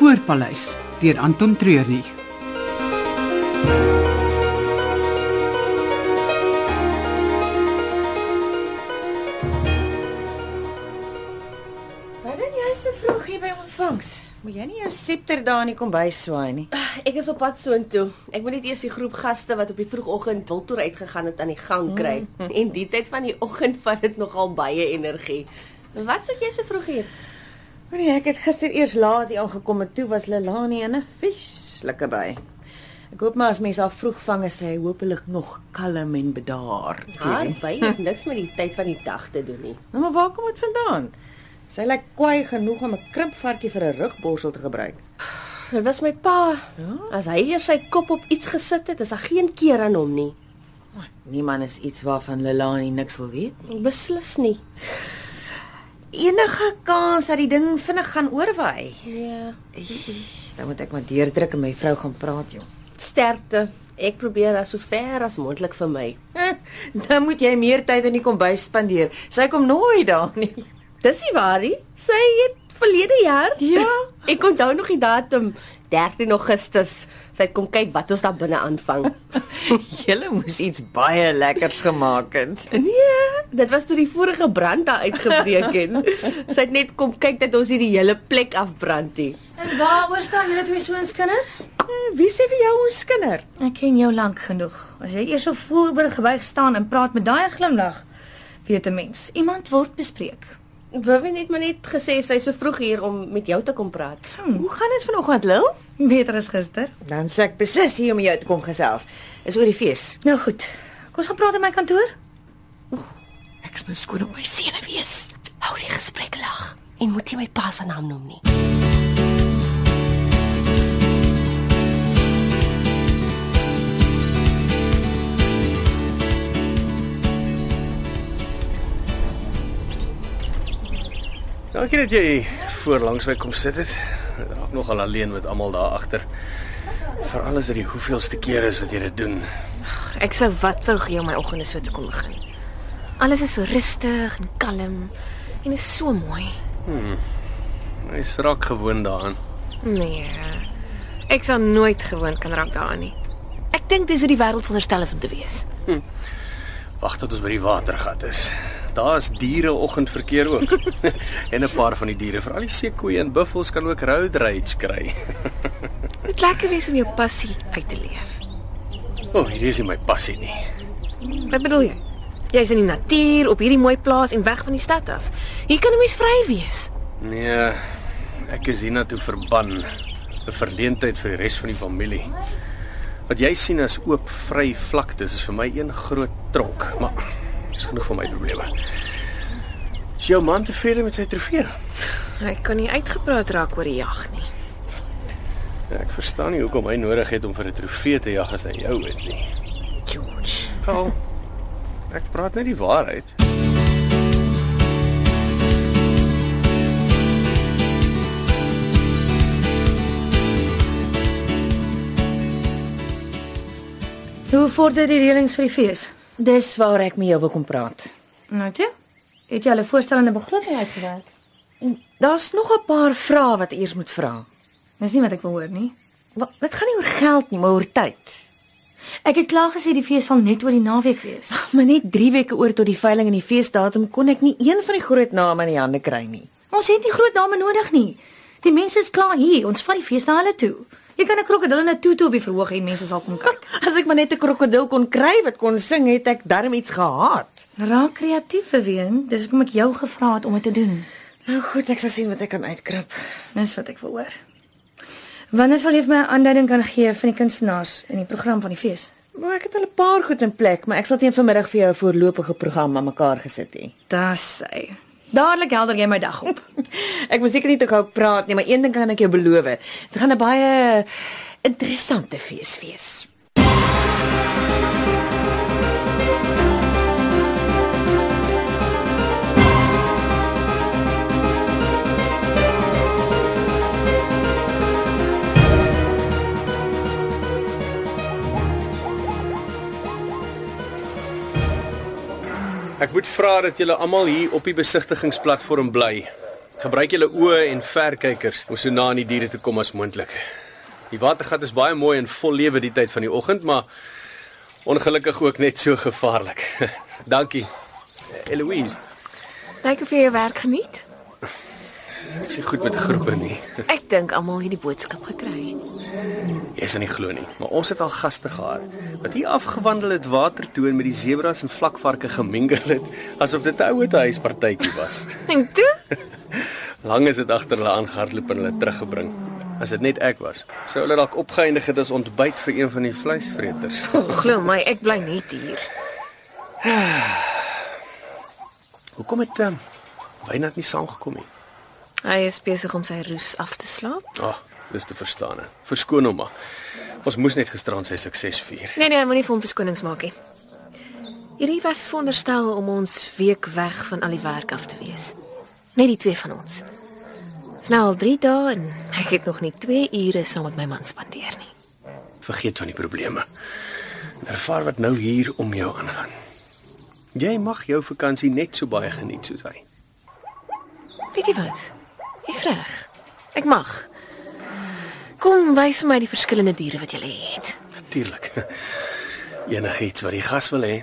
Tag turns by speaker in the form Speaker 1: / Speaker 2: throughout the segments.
Speaker 1: Voorpaleis deur Anton Treurnig.
Speaker 2: Wat doen jy so vroeg hier by ontvangs? Moet jy nie jou septer daar in die kombuis swaai nie.
Speaker 3: Ah, Ek is op pad soontoe. Ek moet net eers die groep gaste wat op die vroegoggend wiltoer uitgegaan het aan die gang kry. En die tyd van die oggend vat dit nogal baie energie. Wat soek jy so vroeg hier?
Speaker 2: Nee, ek het gister eers laat hier aangekom en toe was Lelani in 'n vieslike by. Ek hoop maar as mense haar vroeg vang is sy hopelik nog kalm en bedaard.
Speaker 3: Haar by het niks met die tyd van die dag te doen nie.
Speaker 2: Nou, maar waar kom dit vandaan? Sy lyk kwaai genoeg om 'n krimpvarkie vir 'n rugborsel te gebruik.
Speaker 3: Dit was my pa. As hy eers sy kop op iets gesit het, is daar geen keer aan hom nie.
Speaker 2: Niemand is iets waarvan Lelani niks wil weet.
Speaker 3: Beslis nie.
Speaker 2: Enige kans dat die ding vinnig gaan oorwaai.
Speaker 3: Ja.
Speaker 2: Dan moet ek maar deurdruk en my vrou gaan praat, jong.
Speaker 3: Sterkte. Ek probeer daar so ver as moontlik vir my.
Speaker 2: Dan moet jy meer tyd in die kombuis spandeer. Sy kom nooit daar nie.
Speaker 3: Dis nie waar nie. Sy het verlede jaar.
Speaker 2: Ja.
Speaker 3: Ek onthou nog die datum 13 Augustus. Sy het kom kyk wat ons daar binne aanvang.
Speaker 2: Julle moes iets baie lekkers gemaak het.
Speaker 3: nee, dit was toe die vorige brand daar uitgebreek het. Sy het net kom kyk dat ons hierdie hele plek afbrand nie.
Speaker 4: En waaroor staan julle twee so inskinder?
Speaker 2: Eh, Wie sê vir jou ons kinders?
Speaker 4: Ek ken jou lank genoeg. As jy eers so voorberg gebuig staan en praat met daai glimlag, weet 'n mens, iemand word bespreek.
Speaker 3: Wivie het maar net gesê sy is so vroeg hier om met jou te kom praat.
Speaker 2: Hoe gaan dit vanoggend, Lil?
Speaker 4: Beter as gister.
Speaker 2: Dan sê ek beslis hier om jou te kom gesels. Is oor die fees.
Speaker 4: Nou goed. Kom ons gaan praat in my kantoor.
Speaker 2: Ek's nou skoon op my senuwees.
Speaker 3: Hou die gesprek lag en moet nie my pa se naam noem nie.
Speaker 5: Dankie dat jy voor langs my kom sit het. Dit Raak nogal alleen met almal daar agter. Veral as dit die hoeveelste keer is wat jy dit doen.
Speaker 6: Ek sou wat wou gee om my oggende so te kom begin. Alles is so rustig en kalm en is so mooi.
Speaker 5: Jy's raak gewoond daaraan.
Speaker 6: Nee. Ek sal nooit gewoond kan raak daaraan nie. Ek dink dis hoe die wêreld veronderstel is om te wees.
Speaker 5: Wag tot ons by die watergat is. Daar's diere oggendverkeer ook. en 'n paar van die diere, veral die seekoeie en buffels kan ook road rage kry.
Speaker 6: Dit lekker wees om jou passie uit te leef.
Speaker 5: O, oh, hierdie is nie my passie nie.
Speaker 6: Wat bedoel jy? Jy's in die natuur, op hierdie mooi plaas en weg van die stad af. Hier kan 'n mens vry wees.
Speaker 5: Nee, ek is hiernatoe verban. 'n Verleentheid vir die res van die familie. Wat jy sien as oop, vry vlaktes is vir my een groot tronk, maar dis genoeg van my probleme. Is jou man tevrede met sy trofee?
Speaker 6: Hy kan nie uitgepraat raak oor die jag nie.
Speaker 5: Ja, ek verstaan nie hoekom hy nodig het om vir 'n trofee te jag as hy jou het nie.
Speaker 6: George.
Speaker 5: Paul, ek praat net die waarheid.
Speaker 4: Hoe vorder die reëlings vir die fees?
Speaker 2: Dis waar ek met jou wil kom praat.
Speaker 4: Nou toe. Het jy al 'n voorstellende begroting uitgewerk?
Speaker 2: Daar's nog 'n paar vrae wat eers moet vra.
Speaker 4: Dis nie wat ek wil hoor nie.
Speaker 2: Wat dit gaan nie oor geld nie, maar oor tyd.
Speaker 4: Ek het klaar gesê die fees sal net oor die naweek wees.
Speaker 2: Ag, maar net 3 weke oor tot die veiling en die feesdatum kon ek nie een van die groot name in die hande kry nie.
Speaker 4: Ons het nie groot dame nodig nie. Die mense is klaar hier. Ons vat die fees na hulle toe. Jy kan 'n krokodil in 'n tutu op die verhoog hê en mense sal kom kyk.
Speaker 2: As ek maar net 'n krokodil kon kry wat kon sing, het ek darm iets gehaat.
Speaker 4: Raak kreatief, Wien. Dis hoekom ek jou gevra het om dit te doen.
Speaker 2: Nou goed, ek sal sien wat ek kan uitkrap.
Speaker 4: Dis wat ek wil hoor. Wanneer sal jy vir my 'n aanduiding kan gee van die kunstenaars in die program van die fees?
Speaker 2: Maar ek het al 'n paar goed in plek, maar ek sal teen vanmiddag vir jou 'n voorlopige program aan mekaar gesit hê.
Speaker 4: Dis sy. Dadelik helder jy my dag op.
Speaker 2: Ek moet seker nie te gou praat nie, maar een ding kan ek jou beloof. Dit gaan 'n baie interessante fees wees.
Speaker 5: Ek moet vra dat julle almal hier op die besigtigingsplatform bly. Gebruik julle oë en verkykers om so na aan die diere te kom as moontlik. Die watergat is baie mooi en vol lewe die tyd van die oggend, maar ongelukkig ook net so gevaarlik. Dankie. Eloise,
Speaker 6: Lyk of jy jou werk geniet?
Speaker 5: ek sê goed met groepe nie.
Speaker 6: Ek dink almal het die boodskap gekry.
Speaker 5: Jy's aan die glo nie, maar ons het al gaste gehad wat hier afgewandel het water toe en met die sebras en vlakvarke gemengel het, asof dit 'n ouete huispartytjie was.
Speaker 6: En toe?
Speaker 5: Lang is dit agter hulle aangehardloop en hulle teruggebring. As dit net ek was, sou hulle dalk opgeëindig het as ontbyt vir een van die vleisvreters.
Speaker 6: Oh, glo my, ek bly net hier.
Speaker 5: Hoekom het um, Wynand nie saamgekom nie?
Speaker 6: Hy is besig om sy roes af te slaap.
Speaker 5: Ag, oh, dis te verstaan. hè. Verskoon hom maar. Ons moes net gisteraan sy sukses vier.
Speaker 6: Nee nee, moenie vir hom verskonings maak nie. Hierdie was veronderstel om ons week weg van al die werk af te wees. Net die twee van ons. Dis nou al 3 dae en ek het nog nie 2 ure saam met my man spandeer nie.
Speaker 5: Vergeet van die probleme. En Ervaar wat nou hier om jou aangaan. Jy mag jou vakansie net so baie geniet soos hy.
Speaker 6: Weet jy wat? Jy's reg. Ek mag. Kom wys vir my die verskillende diere wat jy het.
Speaker 5: Natuurlik. Enigiets wat die gas wil hê.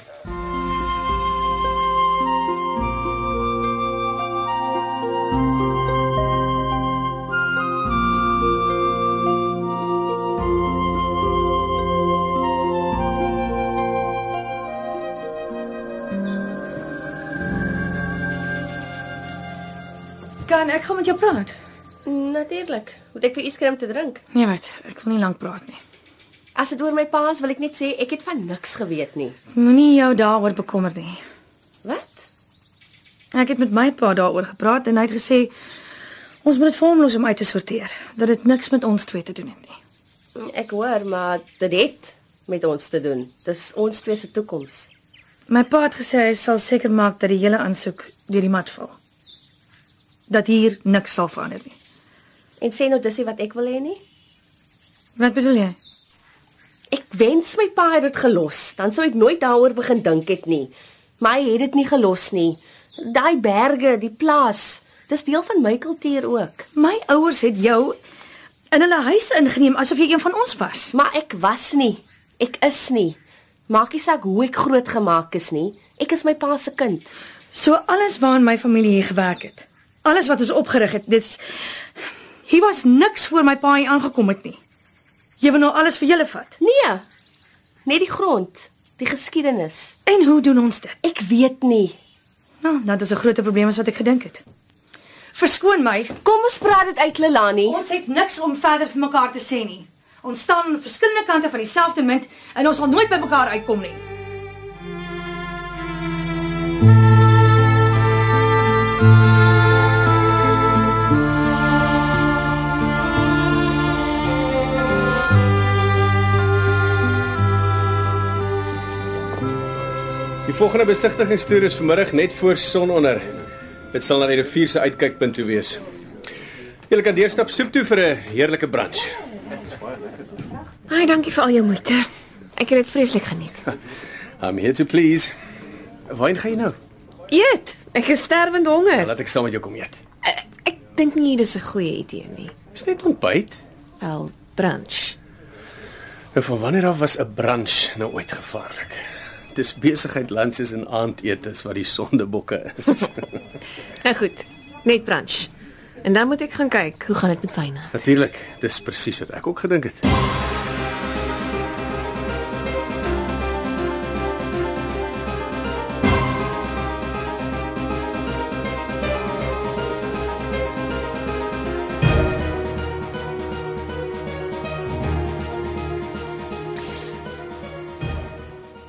Speaker 4: Kan ek gaan met jou praat?
Speaker 3: Natuurlik. Moet ek vir u skerm te drink?
Speaker 4: Nee, wat, ek wil nie lank praat nie.
Speaker 3: As dit oor my pa is, wil ek net sê ek het van niks geweet nie.
Speaker 4: Moenie jou daaroor bekommer nie.
Speaker 3: Wat?
Speaker 4: Ek het met my pa daaroor gepraat en hy het gesê ons moet dit vir hom los om uit te sorteer, dat dit niks met ons twee te doen het nie.
Speaker 3: Ek hoor, maar dit het met ons te doen. Dis ons twee se toekoms.
Speaker 4: My pa het gesê hy sal seker maak dat die hele aansoek deur die mat val. Dat hier niks sal verander nie.
Speaker 3: En sê nou dis nie wat ek wil hê nie.
Speaker 4: Wat bedoel jy?
Speaker 3: Ek wens my pa het dit gelos, dan sou ek nooit daaroor begin dink het nie. Maar hy het dit nie gelos nie. Daai berge, die plaas, dis deel van my kultuur ook.
Speaker 4: My ouers het jou in hulle huis ingeneem asof jy een van ons was.
Speaker 3: Maar ek was nie. Ek is nie. Maak nie saak hoe ek grootgemaak is nie. Ek is my pa se kind.
Speaker 4: So alles waaraan my familie hier gewerk het. Alles wat ons opgerig het, dit's hier was niks voor my pa hier aangekom het nie. Jy wil nou alles vir julle vat.
Speaker 3: Nee. Net die grond, die geskiedenis.
Speaker 4: En hoe doen ons dit?
Speaker 3: Ek weet nie.
Speaker 4: Nou, dit is 'n groter probleem as wat ek gedink het. Verskoon my.
Speaker 3: Kom ons praat dit uit, Lelani.
Speaker 4: Ons het niks om verder vir mekaar te sê nie. Ons staan aan verskillende kante van dieselfde munt en ons sal nooit by mekaar uitkom nie.
Speaker 5: Die volgende besigtigingstoer is vanmiddag net voor sononder. Dit sal na die rivier se uitkykpunt toe wees. Jy kan deurstap stoep toe vir 'n heerlike brunch.
Speaker 6: Baie dankie vir al jou moeite. Ek het dit vreeslik geniet.
Speaker 5: I'm here to please. Waarheen gaan jy nou?
Speaker 6: Eet. Ek is sterwend honger.
Speaker 5: Laat ek saam met jou kom eet.
Speaker 6: Ek dink nie dis 'n goeie idee nie.
Speaker 5: Is dit ontbyt?
Speaker 6: Wel, brunch.
Speaker 5: Nou van wanneer af was 'n brunch nou ooit gevaarlik? Dis besigheid lunches en aandetes wat die sondebokke is.
Speaker 6: Nou goed, net brunch. En dan moet ek gaan kyk, hoe gaan dit met Wynand?
Speaker 5: Natuurlik, dis presies wat ek ook gedink het.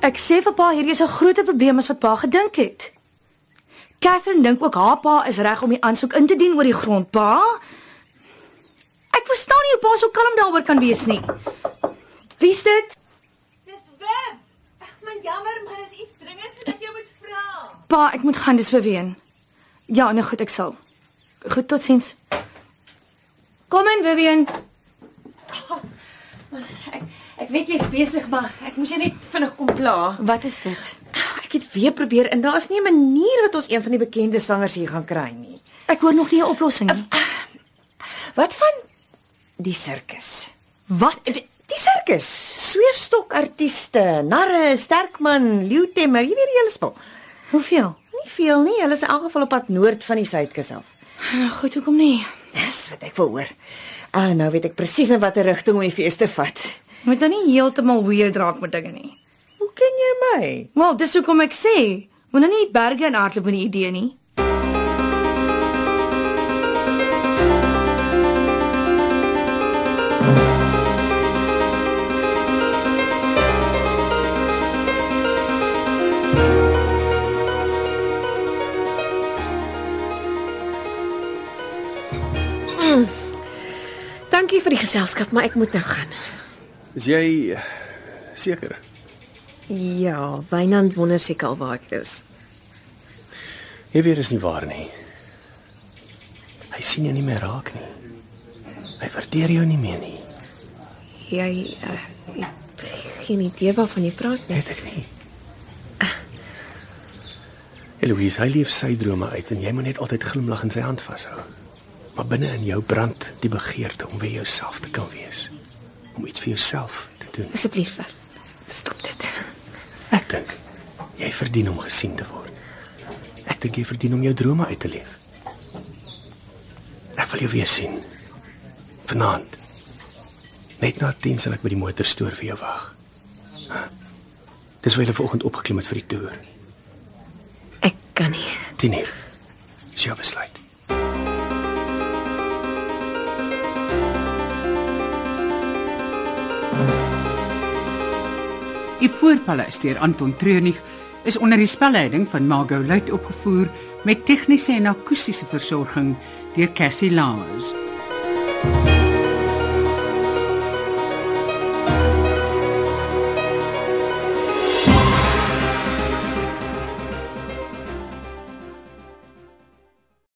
Speaker 4: Ek sê vir pa hierdie is 'n groter probleem as wat pa gedink het. Catherine dink ook haar pa is reg om die aansoek in te dien oor die grond, pa. Ek verstaan nie hoe pa so kalm daaroor kan wees nie. Wie's dit? Dis Wim. Ag man, jammer, maar dis iets dringends wat jy moet vra. Pa, ek moet gaan dis beween. Ja, nou goed, ek sal. Goed, totsiens. Kom in, Vivian.
Speaker 2: Oh, Ek weet jy's besig, maar ek moes jou net vinnig kom pla.
Speaker 4: Wat is dit?
Speaker 2: Ek het weer probeer en daar's nie 'n manier dat ons een van die bekende sangers hier gaan kry nie.
Speaker 4: Ek hoor nog nie 'n oplossing nie.
Speaker 2: Wat van die sirkus? Eh,
Speaker 4: Wat?
Speaker 2: Die, die sirkus, sweefstokartiste, narre, sterkman, leeutemmer, jy weet die hele spul.
Speaker 4: Hoeveel?
Speaker 2: Nie veel nie, hulle is in elk geval op pad noord van die suidkus af.
Speaker 4: Goed, hoekom nie?
Speaker 2: Dis wat ek wil hoor. Ah, nou weet ek presies in watter rigting om die fees te vat.
Speaker 4: Jy moet nou nie heeltemal weird raak met dinge nie.
Speaker 2: Hoe ken jy my?
Speaker 4: Wel, dis hoekom ek sê, moet nou nie die berge in hardloop met die idee nie.
Speaker 6: Dankie vir die geselskap, maar ek moet nou gaan.
Speaker 5: Is jy eh, seker?
Speaker 6: Ja, Wynand wonder seker al waar ek is.
Speaker 5: Jy weet dis nie waar nie. Hy sien jou nie meer raak nie. Hy waardeer jou nie meer nie.
Speaker 6: Jy uh, het geen idee waarvan jy praat nie.
Speaker 5: Het ek nie. Eloise, hy leef sy drome uit en jy moet net altyd glimlag in sy hand vashou. Maar binne in jou brand die begeerte om by jouself te kan wees. Om iets vir jouself te doen.
Speaker 6: Asseblief. Wer. Stop dit.
Speaker 5: Ek dink jy verdien om gesien te word. Ek dink jy verdien om jou drome uit te leef. Ek wil jou weer sien. Vanaand. Net na 10 sal ek by die motorstoor vir jou wag. Dis waar hulle vanoggend opgeklim het vir die toer.
Speaker 6: Ek kan nie.
Speaker 5: 10 uur. Is jou besluit.
Speaker 1: Die voorpaleis deur Anton Treurnig is onder die spelleiding van Margot Luit opgevoer met tegniese en akoestiese versorging deur Cassie Lawrence.